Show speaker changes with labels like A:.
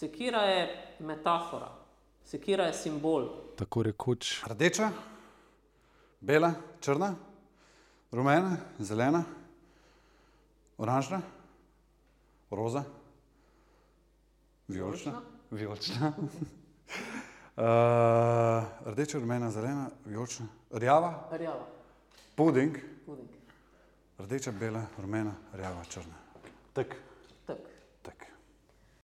A: Sekira je metafora, sekira je simbol.
B: tako rekoč.
C: Rdeča, bela, črna, rumena, zelena, oranžna, roza, vijolična. vijolična. uh, rdeča, rumena, zelena, vijolična, rjava,
A: Rjava,
C: puding,
A: puding.
C: rdeča, bela, rumena, rjava, črna. Tak.